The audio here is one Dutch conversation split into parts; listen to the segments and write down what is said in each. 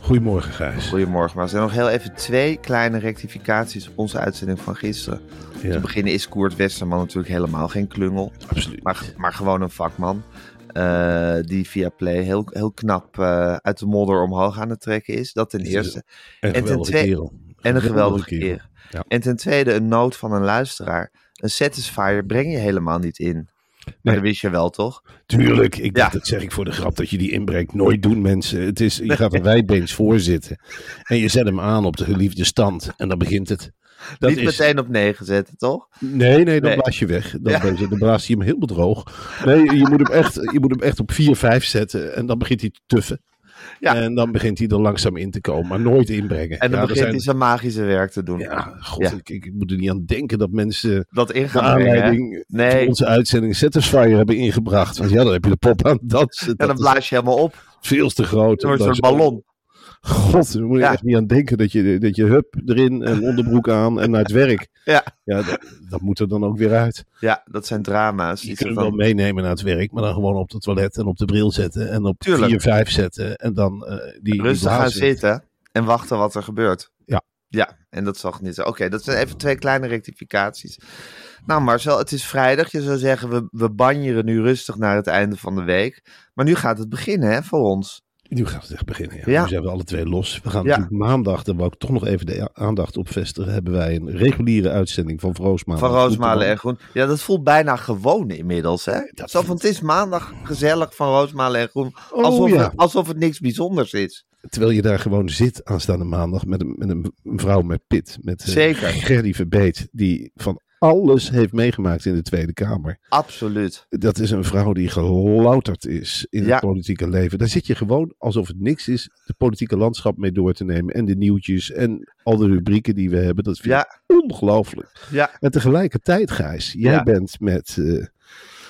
Goedemorgen, Gijs. Goedemorgen, maar er zijn nog heel even twee kleine rectificaties op onze uitzending van gisteren. Ja. Te beginnen is Koert Westerman natuurlijk helemaal geen klungel, Absoluut. maar, maar gewoon een vakman. eh, die via Play heel, heel knap eh, uit de modder omhoog aan het tweede is. Dat ten Is eerste. en ten een geweldige tweede- kerel. En een geweldige keer. Ja. En ten tweede een nood van een luisteraar. Een satisfier breng je helemaal niet in. Maar Nee. dat wist je wel, toch? Tuurlijk, ik, Ja. dat zeg ik voor de grap dat je die inbrengt. Nooit doen, mensen. Het is, je gaat er wijdbeens voor zitten. En je zet hem aan op de geliefde stand. En dan begint het. Dat niet is, meteen op negen zetten, toch? Nee, nee, dan Nee. blaas je weg. Dan, Ja. ben je- dan blaast hij hem heel bedroog. Nee, je moet hem echt, je moet hem echt op 4, 5 zetten. En dan begint hij te tuffen. Ja. En dan begint hij er langzaam in te komen. Maar nooit En inbrengen. dan Ja, er begint hij zijn magische werk te doen. Ja, god, Ja. Ik, ik moet er niet aan denken dat mensen Dat de ingaan. brengen, hè? aanleiding Nee. voor onze uitzending Satisfyer hebben ingebracht. Want ja, dan heb je de pop aan het dansen. En Dat dan is blaas je helemaal op. veel te groot. Door Dat zo'n is- ballon. God, daar moet je Ja. echt niet aan denken dat je, dat je hup erin en onderbroek aan en naar het werk. Ja. ja dat, dat moet er dan ook weer uit. Ja, dat zijn drama's. Je Die kunt zijn hem wel van, meenemen naar het werk, maar dan gewoon op het toilet en op de bril zetten. En op Tuurlijk. 4, 5 zetten en dan eh, die- die rustig gaan blazen. zitten en wachten wat er gebeurt. Ja. Ja, en dat zal niet zo. Oké, dat zijn even twee kleine rectificaties. Nou Marcel, het is vrijdag. Je zou zeggen, we, we banjeren nu rustig naar het einde van de week. Maar nu gaat het beginnen hè, voor ons. Nu gaat het echt beginnen. Ja. Ja. Nu zijn we alle twee los. We gaan Ja. natuurlijk maandag, daar wou ik toch nog even de a- aandacht op vestigen, hebben wij een reguliere uitzending van Roosmalen. Van Roosmalen en Groen. Ja, dat voelt bijna gewoon inmiddels. Hè? dat Zo van, het is maandag gezellig van Roosmalen en Groen. Oh, Alsof, ja. het, alsof het niks bijzonders is. Terwijl je daar gewoon zit aanstaande maandag met een, met een vrouw met pit. Met eh, Zeker. Gerdy Verbeet, die van alles heeft meegemaakt in de Tweede Kamer. Absoluut. Dat is een vrouw die gelouterd is in Ja. het politieke leven. Daar zit je gewoon alsof het niks is, het politieke landschap mee door te nemen. En de nieuwtjes en al de rubrieken die we hebben. Dat vind Ja, ik ongelooflijk. ja. En tegelijkertijd, Gijs, jij Ja. bent met eh,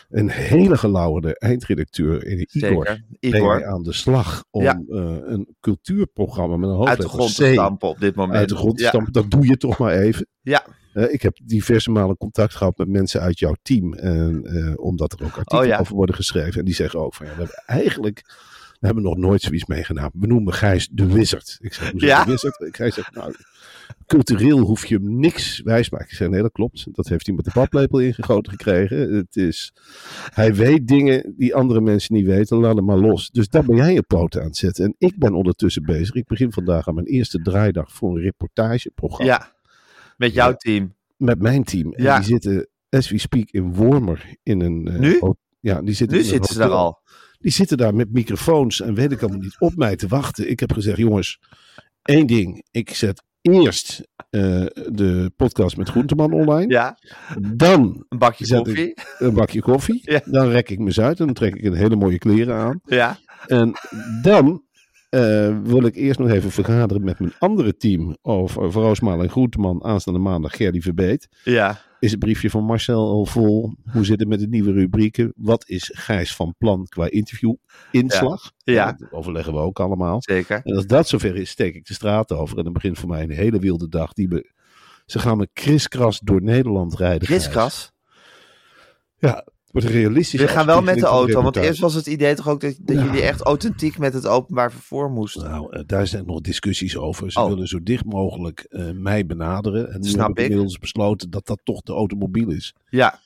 een hele gelauwerde eindredacteur in de Igor. zeker. ben Igor, jij aan de slag om Ja. eh, een cultuurprogramma met een uit de grond hoofdletter te C stampen op dit moment. uit de grond te Ja. stampen. Dat doe je toch maar even. Ja. Eh, ik heb diverse malen contact gehad met mensen uit jouw team. En, eh, omdat er ook artikelen Oh ja. over worden geschreven. En die zeggen ook van ja, we hebben eigenlijk... We hebben nog nooit zoiets meegedaan. We noemen Gijs de Wizard. Ik zeg, hoezo Ja. de Wizard? Gijs zegt, nou, cultureel hoef je hem niks wijsmaken. Ik zeg, nee, dat klopt. Dat heeft hij met de paplepel ingegoten gekregen. Het is, hij weet dingen die andere mensen niet weten. Laat hem maar los. Dus daar ben jij je poot aan het zetten. En ik ben ondertussen bezig. Ik begin vandaag aan mijn eerste draaidag voor een reportageprogramma Ja, met jouw team. met mijn team. En Ja. die zitten, as we speak, in Wormer. In een, eh, Nu? hot- Ja, die zitten Nu in een zitten ze daar hotel. al. Die zitten daar met microfoons en weet ik allemaal niet op mij te wachten. Ik heb gezegd, jongens, één ding. Ik zet eerst eh, de podcast met Groenteman online. Ja, Dan een bakje Zet ik- koffie. een bakje koffie. Ja. Dan rek ik me eens uit en dan trek ik een hele mooie kleren aan. Ja, En dan eh, wil ik eerst nog even vergaderen met mijn andere team over Roosmaal en Groenteman aanstaande maandag Gerdy Verbeet. Ja. Is het briefje van Marcel al vol? Hoe zit het met de nieuwe rubrieken? Wat is Gijs van plan qua interview inslag? Ja, ja. Dat overleggen we ook allemaal. Zeker. En als dat zover is, steek ik de straat over. En dan begint voor mij een hele wilde dag. Die me- Ze gaan me kriskras door Nederland rijden. Gijs. Kriskras. Ja, het wordt realistisch. We gaan wel met de auto. Want eerst was het idee toch ook dat, dat Ja. jullie echt authentiek met het openbaar vervoer moesten. Nou, eh, daar zijn nog discussies over. Ze Oh. willen zo dicht mogelijk eh, mij benaderen. En nu Snap heb ik ik. inmiddels besloten dat dat toch de automobiel is. Ja.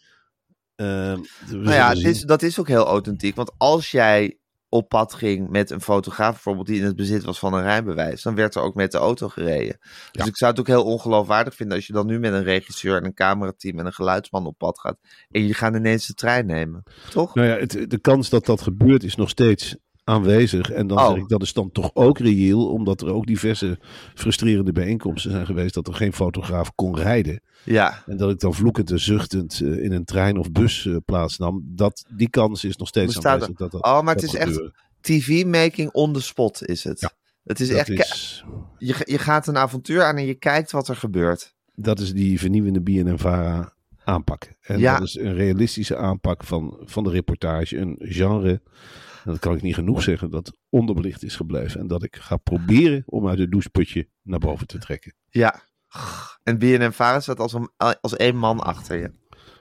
Eh, Nou ja, het is, dat is ook heel authentiek. Want als jij op pad ging met een fotograaf bijvoorbeeld die in het bezit was van een rijbewijs, dan werd er ook met de auto gereden. Dus ik zou het ook heel ongeloofwaardig vinden als je dan nu met een regisseur en een camerateam en een geluidsman op pad gaat en jullie gaan ineens de trein nemen, toch? Nou ja, het, de kans dat dat gebeurt is nog steeds aanwezig. En dan Oh. zeg ik, dat is dan toch ook reëel, omdat er ook diverse frustrerende bijeenkomsten zijn geweest dat er geen fotograaf kon rijden. Ja, En dat ik dan vloekend en zuchtend eh, in een trein of bus eh, plaatsnam. Dat, die kans is nog steeds Bestaat aanwezig. Dat dat Oh, maar het kan is echt- gebeuren. TV-making on the spot is het. Ja. Het is Dat, echt, ke- is, Je, je gaat een avontuur aan en je kijkt wat er gebeurt. dat is die vernieuwende BNNVARA aanpak. En Ja. dat is een realistische aanpak van, van de reportage. Een genre, en dat kan ik niet genoeg zeggen, dat onderbelicht is gebleven. En dat ik ga proberen om uit het doucheputje naar boven te trekken. Ja. En BNN Vara staat als, een, eh, als één man achter je.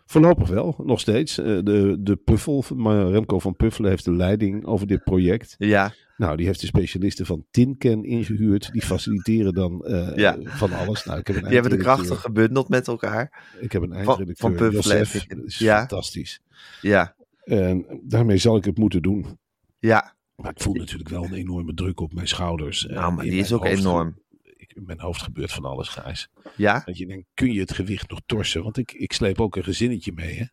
Voorlopig wel, nog steeds. Eh, De, de Puffel, maar Remco van Puffelen heeft de leiding over dit project. Ja. Nou, die heeft de specialisten van Tinken ingehuurd. Die faciliteren dan eh, Ja. van alles. Nou, ik heb een Die hebben de eindredacteur. krachten gebundeld met elkaar. Ik heb een van eindredacteur. Puffelen, Josef. heb ik. Dat is Ja. fantastisch. Ja. En daarmee zal ik het moeten doen. Ja. Maar ik voel natuurlijk wel een enorme druk op mijn schouders. Nou, maar En in die is mijn ook hoofd- enorm. ik- in mijn hoofd gebeurt van alles, Gijs. Ja. Dat je denkt, kun je het gewicht nog torsen? Want ik, ik sleep ook een gezinnetje mee, hè.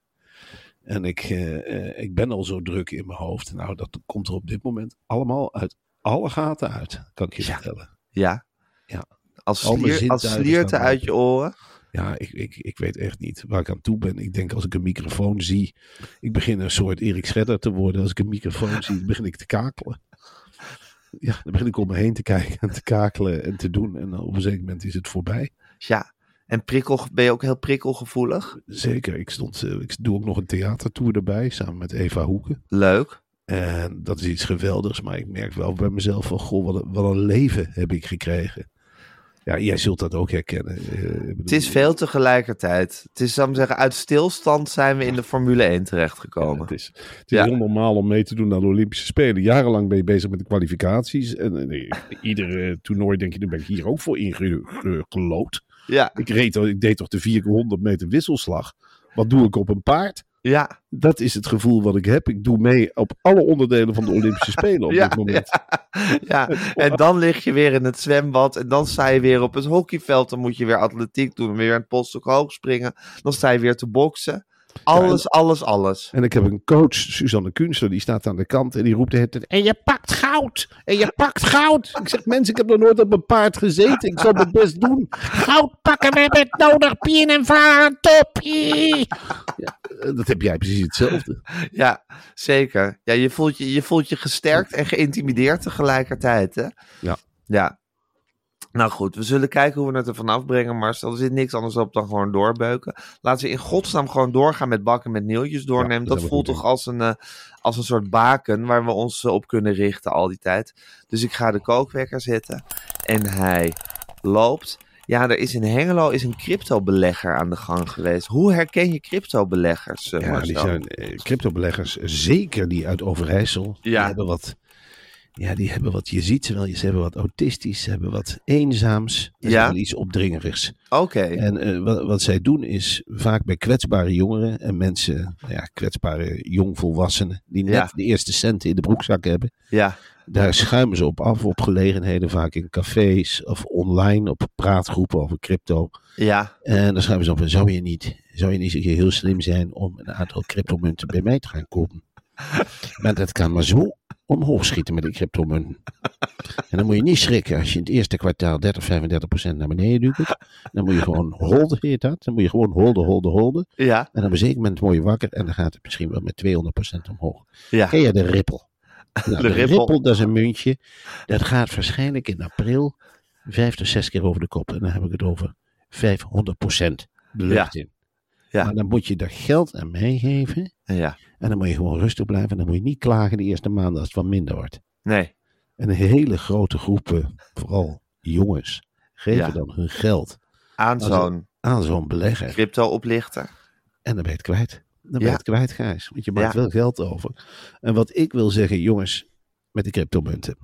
En ik, eh, eh, ik ben al zo druk in mijn hoofd. Nou, dat komt er op dit moment allemaal uit alle gaten uit, kan ik je Ja. vertellen. Ja. Ja. Als, Al mijn slier, als zintuigen slierten staan uit je open. oren. Ja, ik, ik, ik weet echt niet waar ik aan toe ben. Ik denk als ik een microfoon zie, ik begin een soort Erik Schredder te worden. Als ik een microfoon zie, dan begin ik te kakelen. Ja, dan begin ik om me heen te kijken en te kakelen en te doen. En dan op een zeker moment is het voorbij. Ja. En prikkel, ben je ook heel prikkelgevoelig? Zeker, ik, stond, eh, ik doe ook nog een theatertour erbij samen met Eva Hoeken. Leuk. En dat is iets geweldigs, maar ik merk wel bij mezelf van, goh, wat een, wat een leven heb ik gekregen. Ja, jij zult dat ook herkennen. Eh, Het is veel tegelijkertijd. Het is, zou ik maar zeggen, uit stilstand zijn we in de Formule 1 Ja, terechtgekomen. het is, het is Ja. heel normaal om mee te doen aan de Olympische Spelen. Jarenlang ben je bezig met de kwalificaties. En, eh, nee, ieder eh, toernooi denk je, daar ben ik hier ook voor ingeloopt. Ja. Ik, reed, al- ik deed toch de 400 meter wisselslag. Wat doe ik op een paard? Ja. Dat is het gevoel wat ik heb. Ik doe mee op alle onderdelen van de Olympische Spelen op Ja, dit moment. Ja, en dan lig je weer in het zwembad. En dan sta je weer op het hockeyveld. Dan moet je weer atletiek doen. Weer een poststuk hoog springen. Dan sta je weer te boksen. Alles, alles, alles. En ik heb een coach, Suzanne Kunster, die staat aan de kant en die roept de hele tijd, En je pakt goud! En je pakt goud! Ik zeg, mensen, ik heb nog nooit op een paard gezeten. Ik zal mijn best doen. Goud pakken, we hebben het nodig. Pien en varen, top! Ie. Ja, eh, dat heb jij precies hetzelfde. Ja, zeker. Ja, je, voelt je, je voelt je gesterkt en geïntimideerd tegelijkertijd. Hè? Ja. ja. Nou goed, we zullen kijken hoe we het er vanaf brengen, Marcel. Er zit niks anders op dan gewoon doorbeuken. Laten we in godsnaam gewoon doorgaan met bakken met nieuwtjes doornemen. dat dat zijn we voelt goed toch als een, eh, als een soort baken waar we ons eh, op kunnen richten al die tijd. Dus ik ga de kookwekker zetten en hij loopt. Ja, er is in Hengelo is een cryptobelegger aan de gang geweest. Hoe herken je cryptobeleggers, eh, Ja, Marcel? die zijn eh, cryptobeleggers, zeker die uit Overijssel. Die Ja. hebben wat... Ja, die hebben wat, je ziet ze wel, ze hebben wat autistisch, ze hebben wat eenzaams. Ze Ja. hebben wel iets opdringerigs. Oké. En eh, wat, wat zij doen is vaak bij kwetsbare jongeren en mensen, nou ja, kwetsbare jongvolwassenen, die net Ja. de eerste centen in de broekzak hebben, Ja, daar schuimen ze op af op gelegenheden, vaak in cafés of online op praatgroepen over crypto. ja, En Eh, dan schuimen ze op van, zou je niet, zou je niet eens een keer heel slim zijn om een aantal cryptomunten bij mij te gaan kopen? Maar dat kan maar zo omhoog schieten met die cryptomunten. En dan moet je niet schrikken als je in het eerste kwartaal 30, 35 procent naar beneden duwt. Dan moet je gewoon holden, heet dat. Dan moet je gewoon holden, holden, holden. ja, En op een zeker moment word je wakker en dan gaat het misschien wel met 200 procent omhoog. ja. Ken je de Ripple? Nou, De de rippel. rippel. dat is een muntje. Dat gaat waarschijnlijk in april vijf tot zes keer over de kop. En dan heb ik het over 500 de lucht in. Ja. Maar dan moet je daar geld aan meegeven. Ja. En dan moet je gewoon rustig blijven. En dan moet je niet klagen de eerste maanden als het wat minder wordt. Nee. En hele grote groepen, vooral jongens, geven Ja. dan hun geld Aan Als- zo'n aan zo'n belegger. crypto-oplichter. En dan ben je het kwijt. Dan ben je Ja. het kwijt, Gijs. Want je maakt Ja. wel geld over. En wat ik wil zeggen, jongens, met die cryptomunten.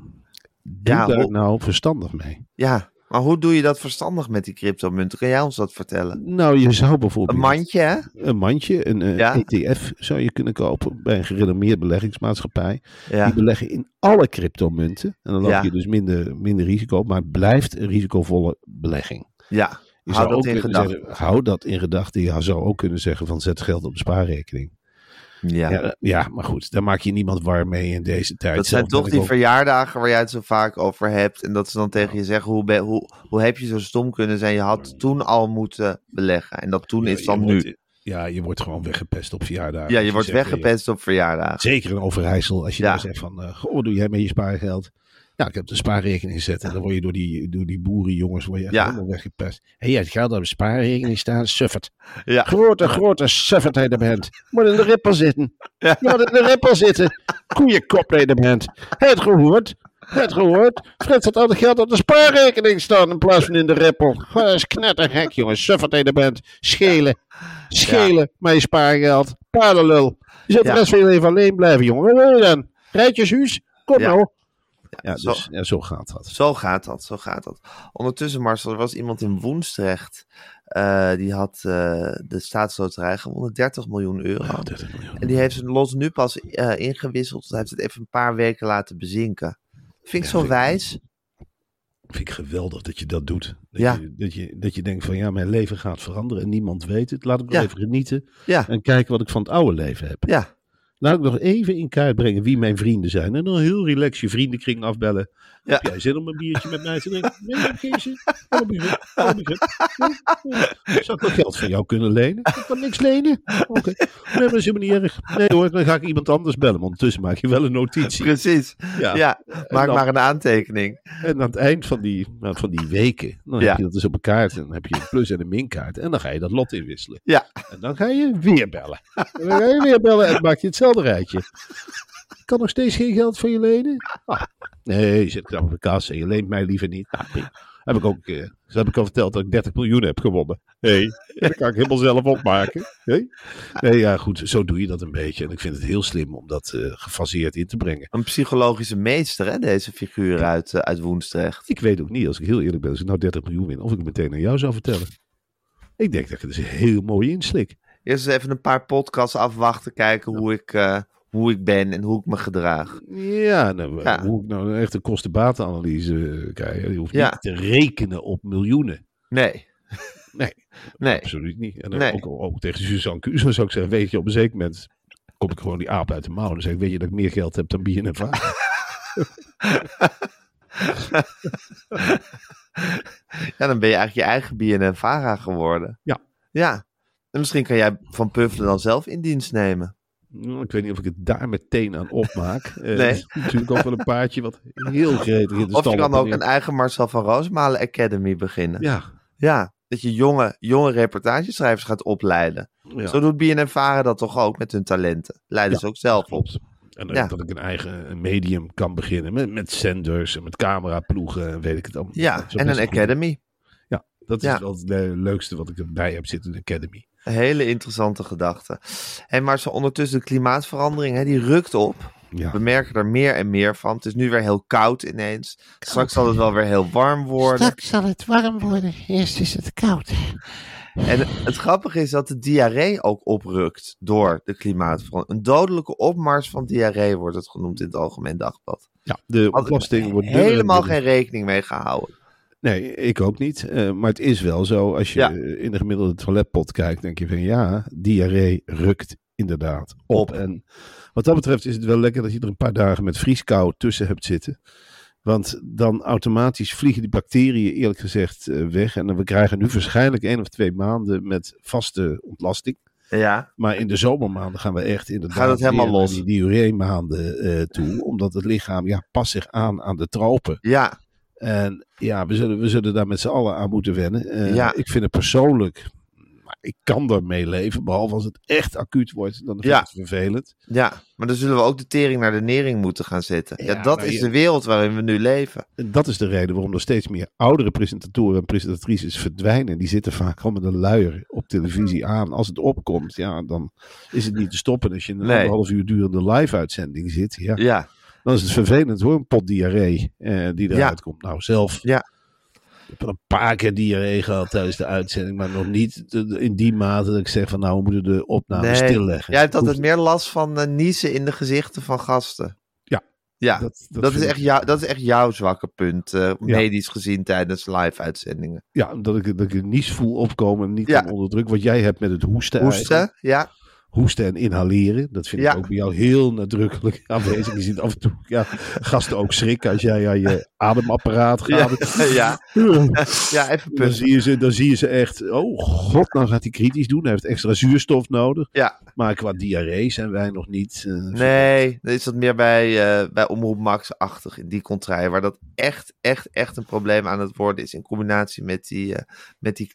Doe Ja, daar hoe- nou verstandig mee. Ja. Maar hoe doe je dat verstandig met die cryptomunten? Kun jij ons dat vertellen? Nou, je zou Een bijvoorbeeld mandje, hè? een mandje, een eh, Ja. ETF, zou je kunnen kopen bij een gerenommeerd beleggingsmaatschappij. Die Ja. beleggen in alle cryptomunten. En dan loop Ja. je dus minder, minder risico, op, maar het blijft een risicovolle belegging. Ja. Je Hou zou dat ook in kunnen gedachten. zeggen- Hou dat in gedachten. Je zou ook kunnen zeggen van zet geld op een spaarrekening. Ja. Ja, eh, ja, maar goed, daar maak je niemand warm mee in deze tijd. Dat zijn Zelf ben toch ik die ook- verjaardagen waar jij het zo vaak over hebt. En dat ze dan tegen je zeggen, hoe, ben, hoe, hoe heb je zo stom kunnen zijn? Je had toen al moeten beleggen. En dat toen Ja, is je dan wordt- nu. Ja, je wordt gewoon weggepest op Dus verjaardag. Ja, je wordt weggepest op verjaardagen. Zeker in Overijssel. Als je Ja. dan zegt van, eh, goh, wat doe jij met je spaargeld? Ja, ik heb de spaarrekening gezet. En dan word je door die, door die boerenjongens word je echt Ja. helemaal weggepest. Hé, hey, het geld op de spaarrekening staan, suffert. Ja. Grote, grote suffert hij er bent. Moet in de rippel zitten. Ja. Je moet in de rippel zitten. Goeie kop hij er bent. Het gehoord. Het gehoord. Frits had al het geld op de spaarrekening staan in plaats van in de rippel. Goh, Dat is knettergek, jongen. Suffert hij er bent. Schelen. Schelen met je spaargeld. Paardenlul. Je zit Ja. de rest van je leven alleen blijven, jongen. Wat wil je dan? Rijtjeshuis? Kom Ja. nou. Ja, zo- dus, ja, zo gaat dat. Zo gaat dat, zo gaat dat. Ondertussen, Marcel, er was iemand in Woensdrecht. eh, die had eh, de staatsloterij gewonnen, 30 miljoen euro. Nou, En die heeft zijn lot nu pas eh, ingewisseld. Dus hij heeft het even een paar weken laten bezinken. Vind ik Ja, zo vind ik- wijs. vind ik geweldig dat je dat doet. Dat, Ja. je, dat, je, dat je denkt van ja, mijn leven gaat veranderen en niemand weet het. Laat ik nog Ja. even genieten Ja, en kijken wat ik van het oude leven heb. ja, Laat ik nog even in kaart brengen wie mijn vrienden zijn. En dan heel relaxed je vriendenkring afbellen. Ja. Heb jij zin om een biertje met mij te drinken? Nee, ik heb geen zin. Kom op, Jurgen. Kom op, Jurgen. Ja, ja. Zou ik nog geld van jou kunnen lenen? Ik kan niks lenen. Oké. Nee, maar dat is helemaal niet erg. Nee hoor, dan ga ik iemand anders bellen. Want ondertussen maak je wel een notitie. precies. Ja, maak dan- maar een aantekening. En aan het eind van die, nou, van die weken, dan Ja. heb je dat dus op een kaart. En dan heb je een plus- en een minkaart. En dan ga je dat lot inwisselen. Ja, En dan ga je weer bellen. En dan ga je weer bellen en dan maak je hetzelfde rijtje. Kan nog steeds geen geld van je lenen? Ah, nee, je zit knap op de kas en je leent mij liever niet. Nou, prima. heb ik ook, eh, zo heb ik al verteld dat ik 30 miljoen heb gewonnen. Hé, dat kan ik helemaal zelf opmaken. Hé? Nee, ja goed, zo doe je dat een beetje. En ik vind het heel slim om dat eh, gefaseerd in te brengen. een psychologische meester, hè, deze figuur uit, eh, uit Woensdrecht. Ik weet ook niet, als ik heel eerlijk ben, als ik nou 30 miljoen win, of ik het meteen aan jou zou vertellen. Ik denk dat ik het is heel mooi inslik. Eerst eens even een paar podcasts afwachten, kijken hoe, ik, eh, hoe ik ben en hoe ik me gedraag. Ja, nou, Ja. hoe ik nou echt een kostenbatenanalyse eh, krijg. Je hoeft Ja. niet te rekenen op miljoenen. Nee, Nee, nee. absoluut niet. En dan Nee. ook, ook tegen Suzanne Kuzo zou ik zeggen, weet je, op een zeker moment kom ik gewoon die aap uit de mouw. En dan zeg ik, weet je dat ik meer geld heb dan BNFA? Ja, dan ben je eigenlijk je eigen BNN-Vara geworden. Ja. Ja. En misschien kan jij Van Puffelen dan zelf in dienst nemen. Nou, Ik weet niet of ik het daar meteen aan opmaak. Eh, Nee. het is natuurlijk ook wel een paardje wat heel gretig in de Of je stal kan op en ook neer- een eigen Marcel van Roosmalen Academy beginnen. Ja. Ja. dat je jonge, jonge reportageschrijvers gaat opleiden. ja. Zo doet BNN-Vara dat toch ook met hun talenten. Leiden Ja, ze ook zelf op. Klopt. En ook Ja. dat ik een eigen medium kan beginnen met, met zenders en met cameraploegen en weet ik het allemaal. Ja, Dat is en best een goed. Academy. Dat is Ja. wel het le- leukste wat ik erbij heb zitten, een academy. Een hele interessante gedachte. En maar zo ondertussen de klimaatverandering, hè, die rukt op. Ja. We merken er meer en meer van. Het is nu weer heel koud ineens. Straks zal het wel weer heel warm worden. Straks zal het warm worden, eerst is het koud. En het grappige is dat de diarree ook oprukt door de klimaatverandering. Een dodelijke opmars van diarree wordt het genoemd in het Algemeen Dagblad. Ja, de Had ontlasting wordt dunner en helemaal dunner. geen rekening mee gehouden. Nee, ik ook niet. Eh, maar het is wel zo, als je Ja. eh, in de gemiddelde toiletpot kijkt, denk je van ja, diarree rukt inderdaad op. Op. En wat dat betreft is het wel lekker dat je er een paar dagen met vrieskou tussen hebt zitten. Want dan automatisch vliegen die bacteriën eerlijk gezegd eh, weg. En dan we krijgen nu waarschijnlijk één of twee maanden met vaste ontlasting. Ja. Maar in de zomermaanden gaan we echt inderdaad Gaat het helemaal weer naar los. die diureemaanden eh toe. Omdat het lichaam ja, past zich aan aan de tropen. Ja. En ja, we zullen, we zullen daar met z'n allen aan moeten wennen. Eh, Ja. Ik vind het persoonlijk, maar ik kan daarmee leven. Behalve als het echt acuut wordt, dan vind ik Ja. het vervelend. Ja, maar dan zullen we ook de tering naar de nering moeten gaan zetten. Ja, Ja, dat maar is je- de wereld waarin we nu leven. En dat is de reden waarom er steeds meer oudere presentatoren en presentatrices verdwijnen. Die zitten vaak gewoon met een luier op Mhm. televisie aan. Als het opkomt, ja, dan is het niet te stoppen. Als je een Nee. anderhalf uur durende live-uitzending zit, ja, Ja, dan is het vervelend hoor. Een pot diarree eh, die eruit Ja. komt. Nou, zelf. Ja. Ik heb wel een paar keer diarree gehad tijdens de uitzending, maar nog niet eh, in die mate dat ik zeg van nou, we moeten de opname nee. stilleggen. Jij hebt Hoeft- altijd meer last van eh, niezen in de gezichten van gasten. Ja. Ja, dat, dat is, vind ik- echt jou, dat is echt jouw zwakke punt, eh, medisch gezien, tijdens live-uitzendingen. Ja, dat ik, dat ik een nies voel opkomen en niet Ja. kan onder druk. Wat jij hebt met het hoesten. eigenlijk. Hoesten, ja. hoesten en inhaleren. Dat vind Ja. ik ook bij jou heel nadrukkelijk aanwezig. Je ziet af en toe ja, gasten ook schrikken als jij aan je ademapparaat Ja, gaat. ja, ja, even Dan punt. zie, je ze, dan zie je ze echt, oh god, nou gaat hij kritisch doen. Hij heeft extra zuurstof nodig. Ja, Maar qua diarree zijn wij nog niet. eh, nee, dan is dat meer bij, eh, bij Omroep Max-achtig, in die contraille, waar dat echt, echt, echt een probleem aan het worden is, in combinatie met die, eh, met die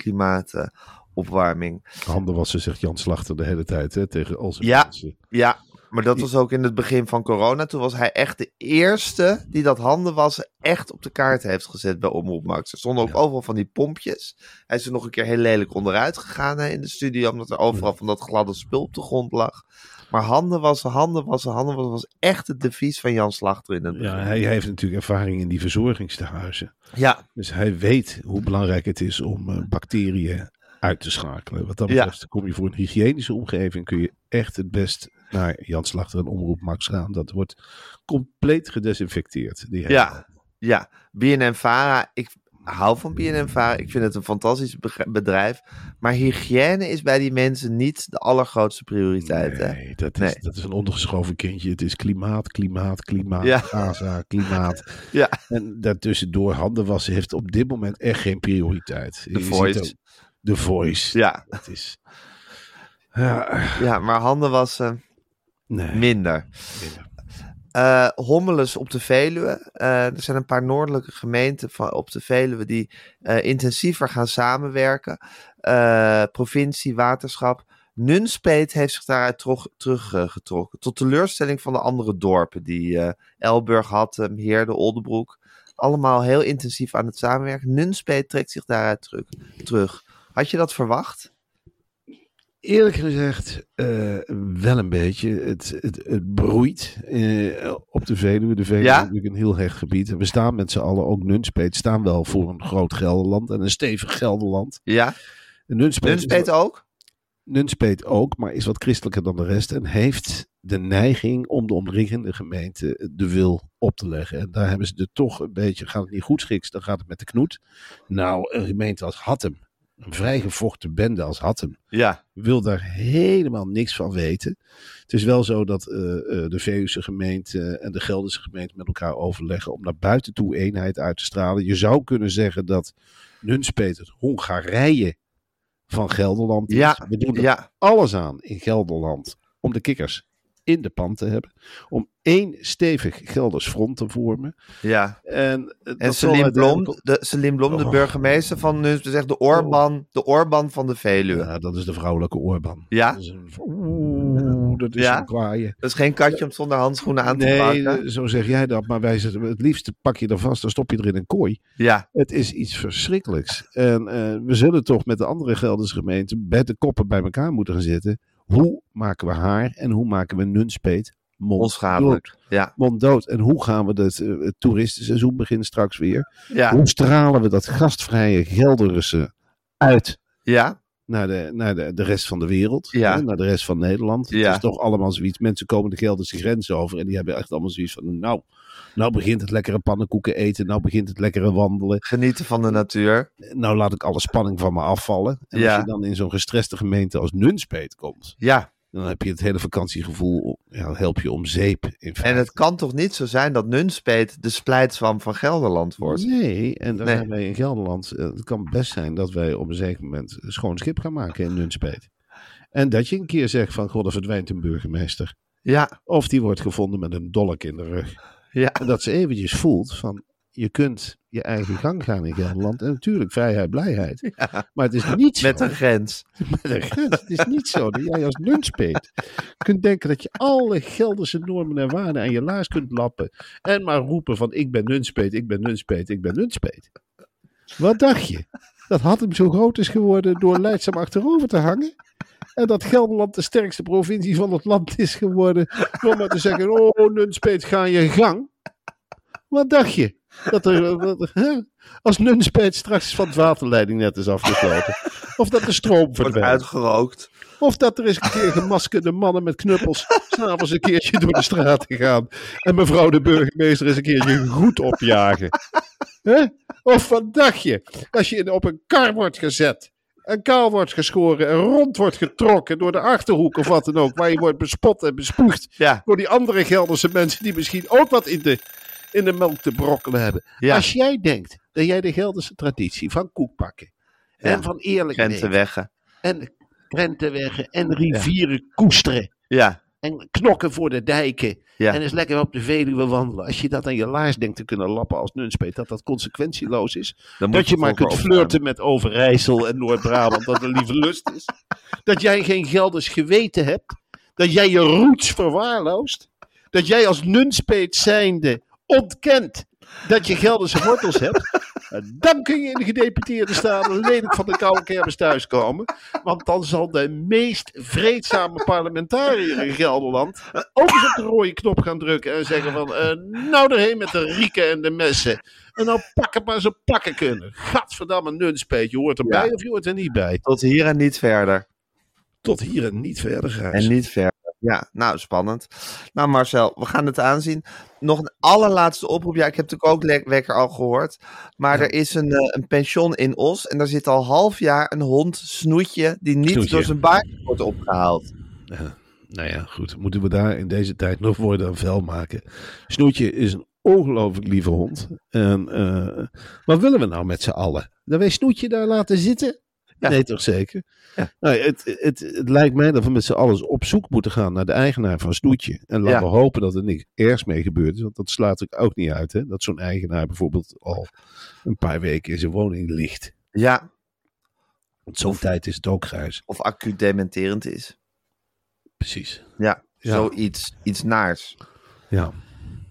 klimaatopwarming. Handen wassen, zegt Jan Slachter de hele tijd hè, tegen al zijn Ja. mensen. Ja, maar dat was ook in het begin van corona, toen was hij echt de eerste die dat handenwassen echt op de kaart heeft gezet bij Omroep Max. Er stonden ook overal van die pompjes. Hij is er nog een keer heel lelijk onderuit gegaan hè, in de studio, omdat er overal van dat gladde spul op de grond lag. Maar handen wassen, handen wassen, handen wassen was echt het devies van Jan Slachter in het begin. Ja, hij heeft natuurlijk ervaring in die verzorgingstehuizen. Ja, Dus hij weet hoe belangrijk het is om eh, bacteriën uit te schakelen. Wat dat Ja. betreft kom je voor een hygiënische omgeving, kun je echt het best naar Jan Slachter en Omroep Max gaan. Dat wordt compleet gedesinfecteerd. Die ja, ja. BNN Vara, ik hou van BNN Vara. Ik vind het een fantastisch beg- bedrijf. Maar hygiëne is bij die mensen niet de allergrootste prioriteit. Hè? Nee, dat is, Nee. dat is een ondergeschoven kindje. Het is klimaat, klimaat, klimaat, Ja. Gaza, klimaat. Ja. En daartussendoor handen wassen heeft op dit moment echt geen prioriteit. Je ziet Voice. ook- The Voice. Ja, Dat is... Ja, ja, maar handen wassen nee. minder. Eh hommeles op de Veluwe. Eh, er zijn een paar noordelijke gemeenten van, op de Veluwe die eh, intensiever gaan samenwerken. Eh, provincie, waterschap. Nunspeet heeft zich daaruit teruggetrokken. Tot teleurstelling van de andere dorpen die eh, Elburg, Hattem, Heerde, Oldebroek. Allemaal heel intensief aan het samenwerken. Nunspeet trekt zich daaruit terug. terug. Had je dat verwacht? Eerlijk gezegd, eh, wel een beetje. Het, het, het broeit eh, op de Veluwe. De Veluwe Ja? is natuurlijk een heel hecht gebied. En we staan met z'n allen, ook Nunspeet, staan wel voor een groot Gelderland en een stevig Gelderland. Ja. En Nunspeet, is Nunspeet wat- ook? Nunspeet ook, maar is wat christelijker dan de rest. En heeft de neiging om de omringende gemeente de wil op te leggen. En daar hebben ze er toch een beetje, gaat het niet goed schiks, dan gaat het met de knoet. Nou, een gemeente als Hattem, een vrijgevochten bende als Hattem Ja. wil daar helemaal niks van weten. Het is wel zo dat eh, eh, de Veluwse gemeente en de Gelderse gemeente met elkaar overleggen om naar buiten toe eenheid uit te stralen. Je zou kunnen zeggen dat Nunspeet het Hongarije van Gelderland is. Ja, We doen er ja. alles aan in Gelderland om de kikkers in de pan te hebben. Om één stevig Gelders front te vormen. Ja. En, eh, En dat zal Selim Blom, uiteindelijk ook- de, Selim Blom, de Oh. burgemeester van nu, zegt de Orban, de Orban van de Veluwe. Ja, dat is de vrouwelijke Orban. Ja? Dat is een, oeh, dat is Ja? een kwaaie. Dat is geen katje om zonder handschoenen aan te Nee, eh, pakken. zo zeg jij dat. Maar wij zeggen, het liefst pak je er vast, dan stop je er in een kooi. Ja, Het is iets verschrikkelijks. En eh, we zullen toch met de andere Gelderse gemeenten bij de koppen bij elkaar moeten gaan zitten. Hoe maken we haar en hoe maken we Nunspeet monddood? onschadelijk. Ja, Monddood. En hoe gaan we dat, eh, het toeristenseizoen begint straks weer. ja, Hoe stralen we dat gastvrije Gelderse uit ja, naar de, naar de, de rest van de wereld, Ja. hè, naar de rest van Nederland. Ja. Het is toch allemaal zoiets. Mensen komen de Gelderse grens over en die hebben echt allemaal zoiets van, nou, nou begint het lekkere pannenkoeken eten, nou begint het lekkere wandelen, genieten van de natuur. nou laat ik alle spanning van me afvallen. En Ja. als je dan in zo'n gestreste gemeente als Nunspeet komt, Ja, dan heb je het hele vakantiegevoel, ja, help je om zeep. In en feite. het kan toch niet zo zijn dat Nunspeet de splijtswam van Gelderland wordt? Nee, en daar Nee. zijn wij in Gelderland. eh, Het kan best zijn dat wij op een zeker moment schoon schip gaan maken in Nunspeet. En dat je een keer zegt van, god, er verdwijnt een burgemeester. Ja, Of die wordt gevonden met een dolk in de rug. ja. En dat ze eventjes voelt van, je kunt je eigen gang gaan in Gelderland. En natuurlijk vrijheid, blijheid. Maar het is niet zo. Met een grens. Met een grens. Het is niet zo dat jij als lunchpeet kunt denken dat je alle Gelderse normen en waarden aan je laars kunt lappen. En maar roepen van ik ben lunchpeet, ik ben lunchpeet, ik ben lunchpeet. Wat dacht je? Dat had hem zo groot is geworden door leidzaam achterover te hangen. En dat Gelderland de sterkste provincie van het land is geworden. Door maar te zeggen, oh Nunspeet, ga je gang. Wat dacht je? Dat er, eh, wat- hè? Als Nunspeet straks van de waterleiding net is afgesloten. Of dat de stroom Wordt verdwijnt. uitgerookt. Of dat er eens een keer gemaskerde mannen met knuppels s'avonds een keertje door de straat gaan. En mevrouw de burgemeester eens een keertje goed opjagen. Hè? Of wat dacht je? Als je in- op een kar wordt gezet. En kaal wordt geschoren en rond wordt getrokken door de achterhoek of wat dan ook. Waar je wordt bespot en bespuugd Ja. door die andere Gelderse mensen die misschien ook wat in de, in de melk te brokkelen hebben. Ja. Als jij denkt dat jij de Gelderse traditie van koek pakken en Ja. van eerlijk Grenzen leven weggen. en krentenwegen en rivieren koesteren. Ja, En knokken voor de dijken. Ja. En eens lekker op de Veluwe wandelen. Als je dat aan je laars denkt te kunnen lappen als nunspeet, dat dat consequentieloos is. Dan moet dat je het maar over kunt flirten met Overijssel en Noord-Brabant, dat een lieve lust is. Dat jij geen Gelders geweten hebt. Dat jij je roots verwaarloost. Dat jij als nunspeet zijnde ontkent dat je Gelderse wortels hebt. En Dan kun je in de gedeputeerde staten lelijk van de koude kermis thuiskomen. Want dan zal de meest vreedzame parlementariër in Gelderland ook eens op de rode knop gaan drukken. En zeggen van, eh, nou erheen met de rieken en de messen. En nou pakken maar ze pakken kunnen. Gadverdamme nunspeet, je hoort erbij Ja. of je hoort er niet bij. Tot hier en niet verder. Tot hier en niet verder gaan. En niet verder. Ja, nou spannend. Nou Marcel, we gaan het aanzien. Nog een allerlaatste oproep. Ja, ik heb natuurlijk ook le- lekker al gehoord. Maar er is een, eh, een pension in Os. En daar zit al half jaar een hond, snoetje, die niet Snoetje. door zijn baard wordt opgehaald. Nou ja, goed. Moeten we daar in deze tijd nog woorden aan vuil maken? Snoetje is een ongelooflijk lieve hond. En, eh, wat willen we nou met z'n allen? Dat wij Snoetje daar laten zitten? Ja. Nee, toch zeker? Nou, ja, het, het, het lijkt mij dat we met z'n allen op zoek moeten gaan naar de eigenaar van Snoetje. En laten Ja. we hopen dat er niks ergs mee gebeurd is. Want dat slaat natuurlijk ook niet uit. Hè? Dat zo'n eigenaar bijvoorbeeld al een paar weken in zijn woning ligt. Ja, Want zo'n tijd is het ook grijs. of acuut dementerend is. Precies. Ja, Ja. zoiets. Iets naars. Ja.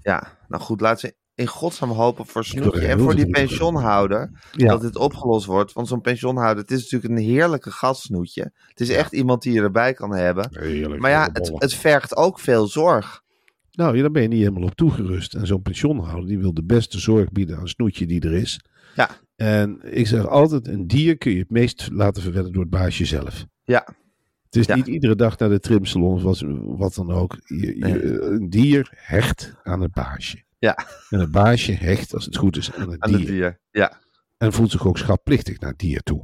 Ja, nou goed, laten we in godsnaam hopen voor wil Snoetje er en heel voor die veel doen. pensionhouder Ja. dat dit opgelost wordt. Want zo'n pensionhouder, het is natuurlijk een heerlijke gastsnoetje. Het is echt iemand die je erbij kan hebben. Heerlijk. Maar ja, het, het vergt ook veel zorg. Nou, ja, daar ben je niet helemaal op toegerust. En zo'n pensioenhouder die wil de beste zorg bieden aan snoetje die er is. Ja. En ik zeg altijd, een dier kun je het meest laten verwennen door het baasje zelf. Ja, Het is Ja. niet iedere dag naar de trimsalon of wat, wat dan ook. Je, je- Nee. Een dier hecht aan het baasje. Ja. En het baasje hecht, als het goed is, aan het aan dier. het dier. Ja, En voelt zich ook schatplichtig naar het dier toe.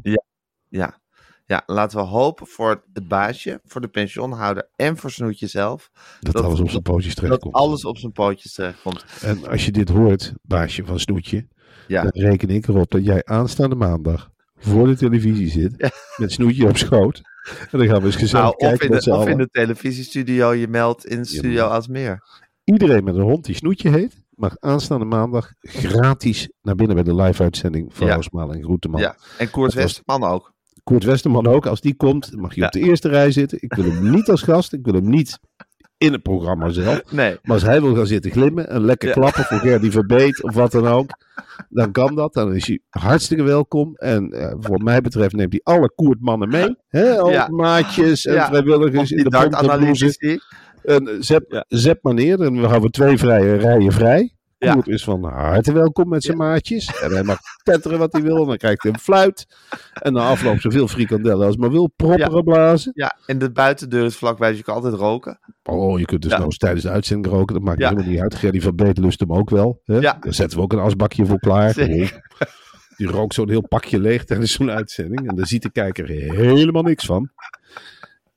ja. Ja, laten we hopen voor het baasje, voor de pensionhouder en voor Snoetje zelf. Dat, alles op zijn pootjes dat terechtkomt. alles op zijn pootjes eh, terechtkomt. En als je dit hoort, baasje van Snoetje, Ja. dan reken ik erop dat jij aanstaande maandag voor de televisie zit met Snoetje op schoot. En dan gaan we eens gezellig Nou, of kijken in, met z'n de, of in allen. de televisiestudio, je meldt in Studio Asmeer. Iedereen met een hond die Snoetje heet, mag aanstaande maandag gratis naar binnen bij de live-uitzending van Ja. Roosmalen en Groeteman. Ja, en Koert Dat was- Westerman ook. Koert Westerman ook, als die komt, mag je op de Ja. eerste rij zitten. Ik wil hem niet als gast, ik wil hem niet in het programma zelf. Nee, Maar als hij wil gaan zitten glimmen en lekker Ja. klappen voor Gerdy Verbeet of wat dan ook, dan kan dat. Dan is hij hartstikke welkom. En eh, wat mij betreft neemt hij alle Koerdmannen mee. Hè? Al Ja. maatjes en Ja. of vrijwilligers in die de dartanalyse. dartanalytici. En eh, zet, Ja. zet maar neer en we houden twee vrije rijen vrij. Ja. Koert is van harte welkom met zijn maatjes. En hij mag tetteren wat hij wil. En dan krijgt hij een fluit. En na afloop zoveel frikandellen als maar wil. Propperen Ja. blazen. Ja, en de buitendeur is vlakbij, dus je kan altijd roken. Oh, je kunt dus Ja. nou eens tijdens de uitzending roken. Dat maakt Ja. helemaal niet uit. Gerry van Beet lust hem ook wel. Hè? Ja. Daar zetten we ook een asbakje voor klaar. Zeker. Die rookt zo'n heel pakje leeg tijdens zo'n uitzending. En daar ziet de kijker helemaal niks van.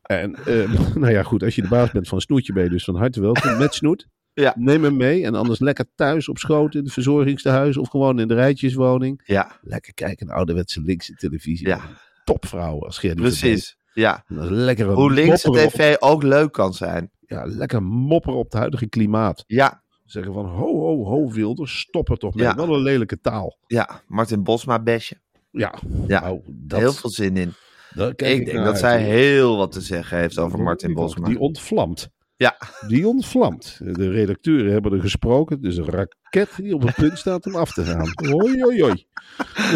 En eh, nou ja, goed. Als je de baas bent van Snoetje, ben je dus van harte welkom met Snoet. Ja. Neem hem mee. En anders lekker thuis op schoot in het verzorgingstehuis. Of gewoon in de rijtjeswoning. Ja, Lekker kijken naar ouderwetse linkse televisie. ja, Topvrouwen als Gerry van Beet. precies. Ja. Lekker Hoe linkse mopperen op- tv ook leuk kan zijn. ja, lekker mopperen op het huidige klimaat. Ja, Zeggen van ho, ho, ho, Wilders, stop er toch mee. Ja. Wel een lelijke taal. ja. Martin Bosma besje. Ja, Ja, nou, dat, Heel veel zin in. daar kijk Ik denk naar dat uit, zij hoor. heel wat te zeggen heeft over Die- Martin die- Bosma. Die ontvlamt. Ja. Die ontvlamt. De redacteuren hebben er gesproken. Dus een raket die op het punt staat om af te gaan. Hoi, hoi, hoi. Er zal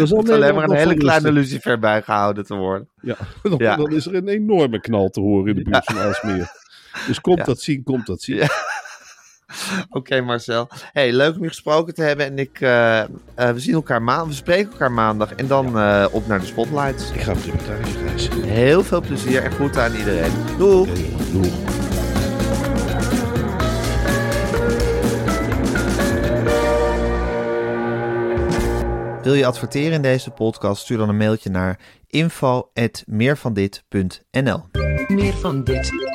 Het is alleen Nederland maar een nog hele van kleine rusten. lucifer bijgehouden te worden. Ja, dan, Ja. dan is er een enorme knal te horen in de buurt van Aalsmeer. Dus komt Ja. dat zien, komt dat zien. Ja. Oké, Marcel. Hey, leuk om je gesproken te hebben. En ik, eh, eh, we zien elkaar maandag. We spreken elkaar maandag. En dan eh, op naar de spotlights. Ik ga op de reportage reizen. Heel veel plezier en groeten aan iedereen. Doeg! Doeg. Wil je adverteren in deze podcast? Stuur dan een mailtje naar info.meervandit.nl Meer van dit.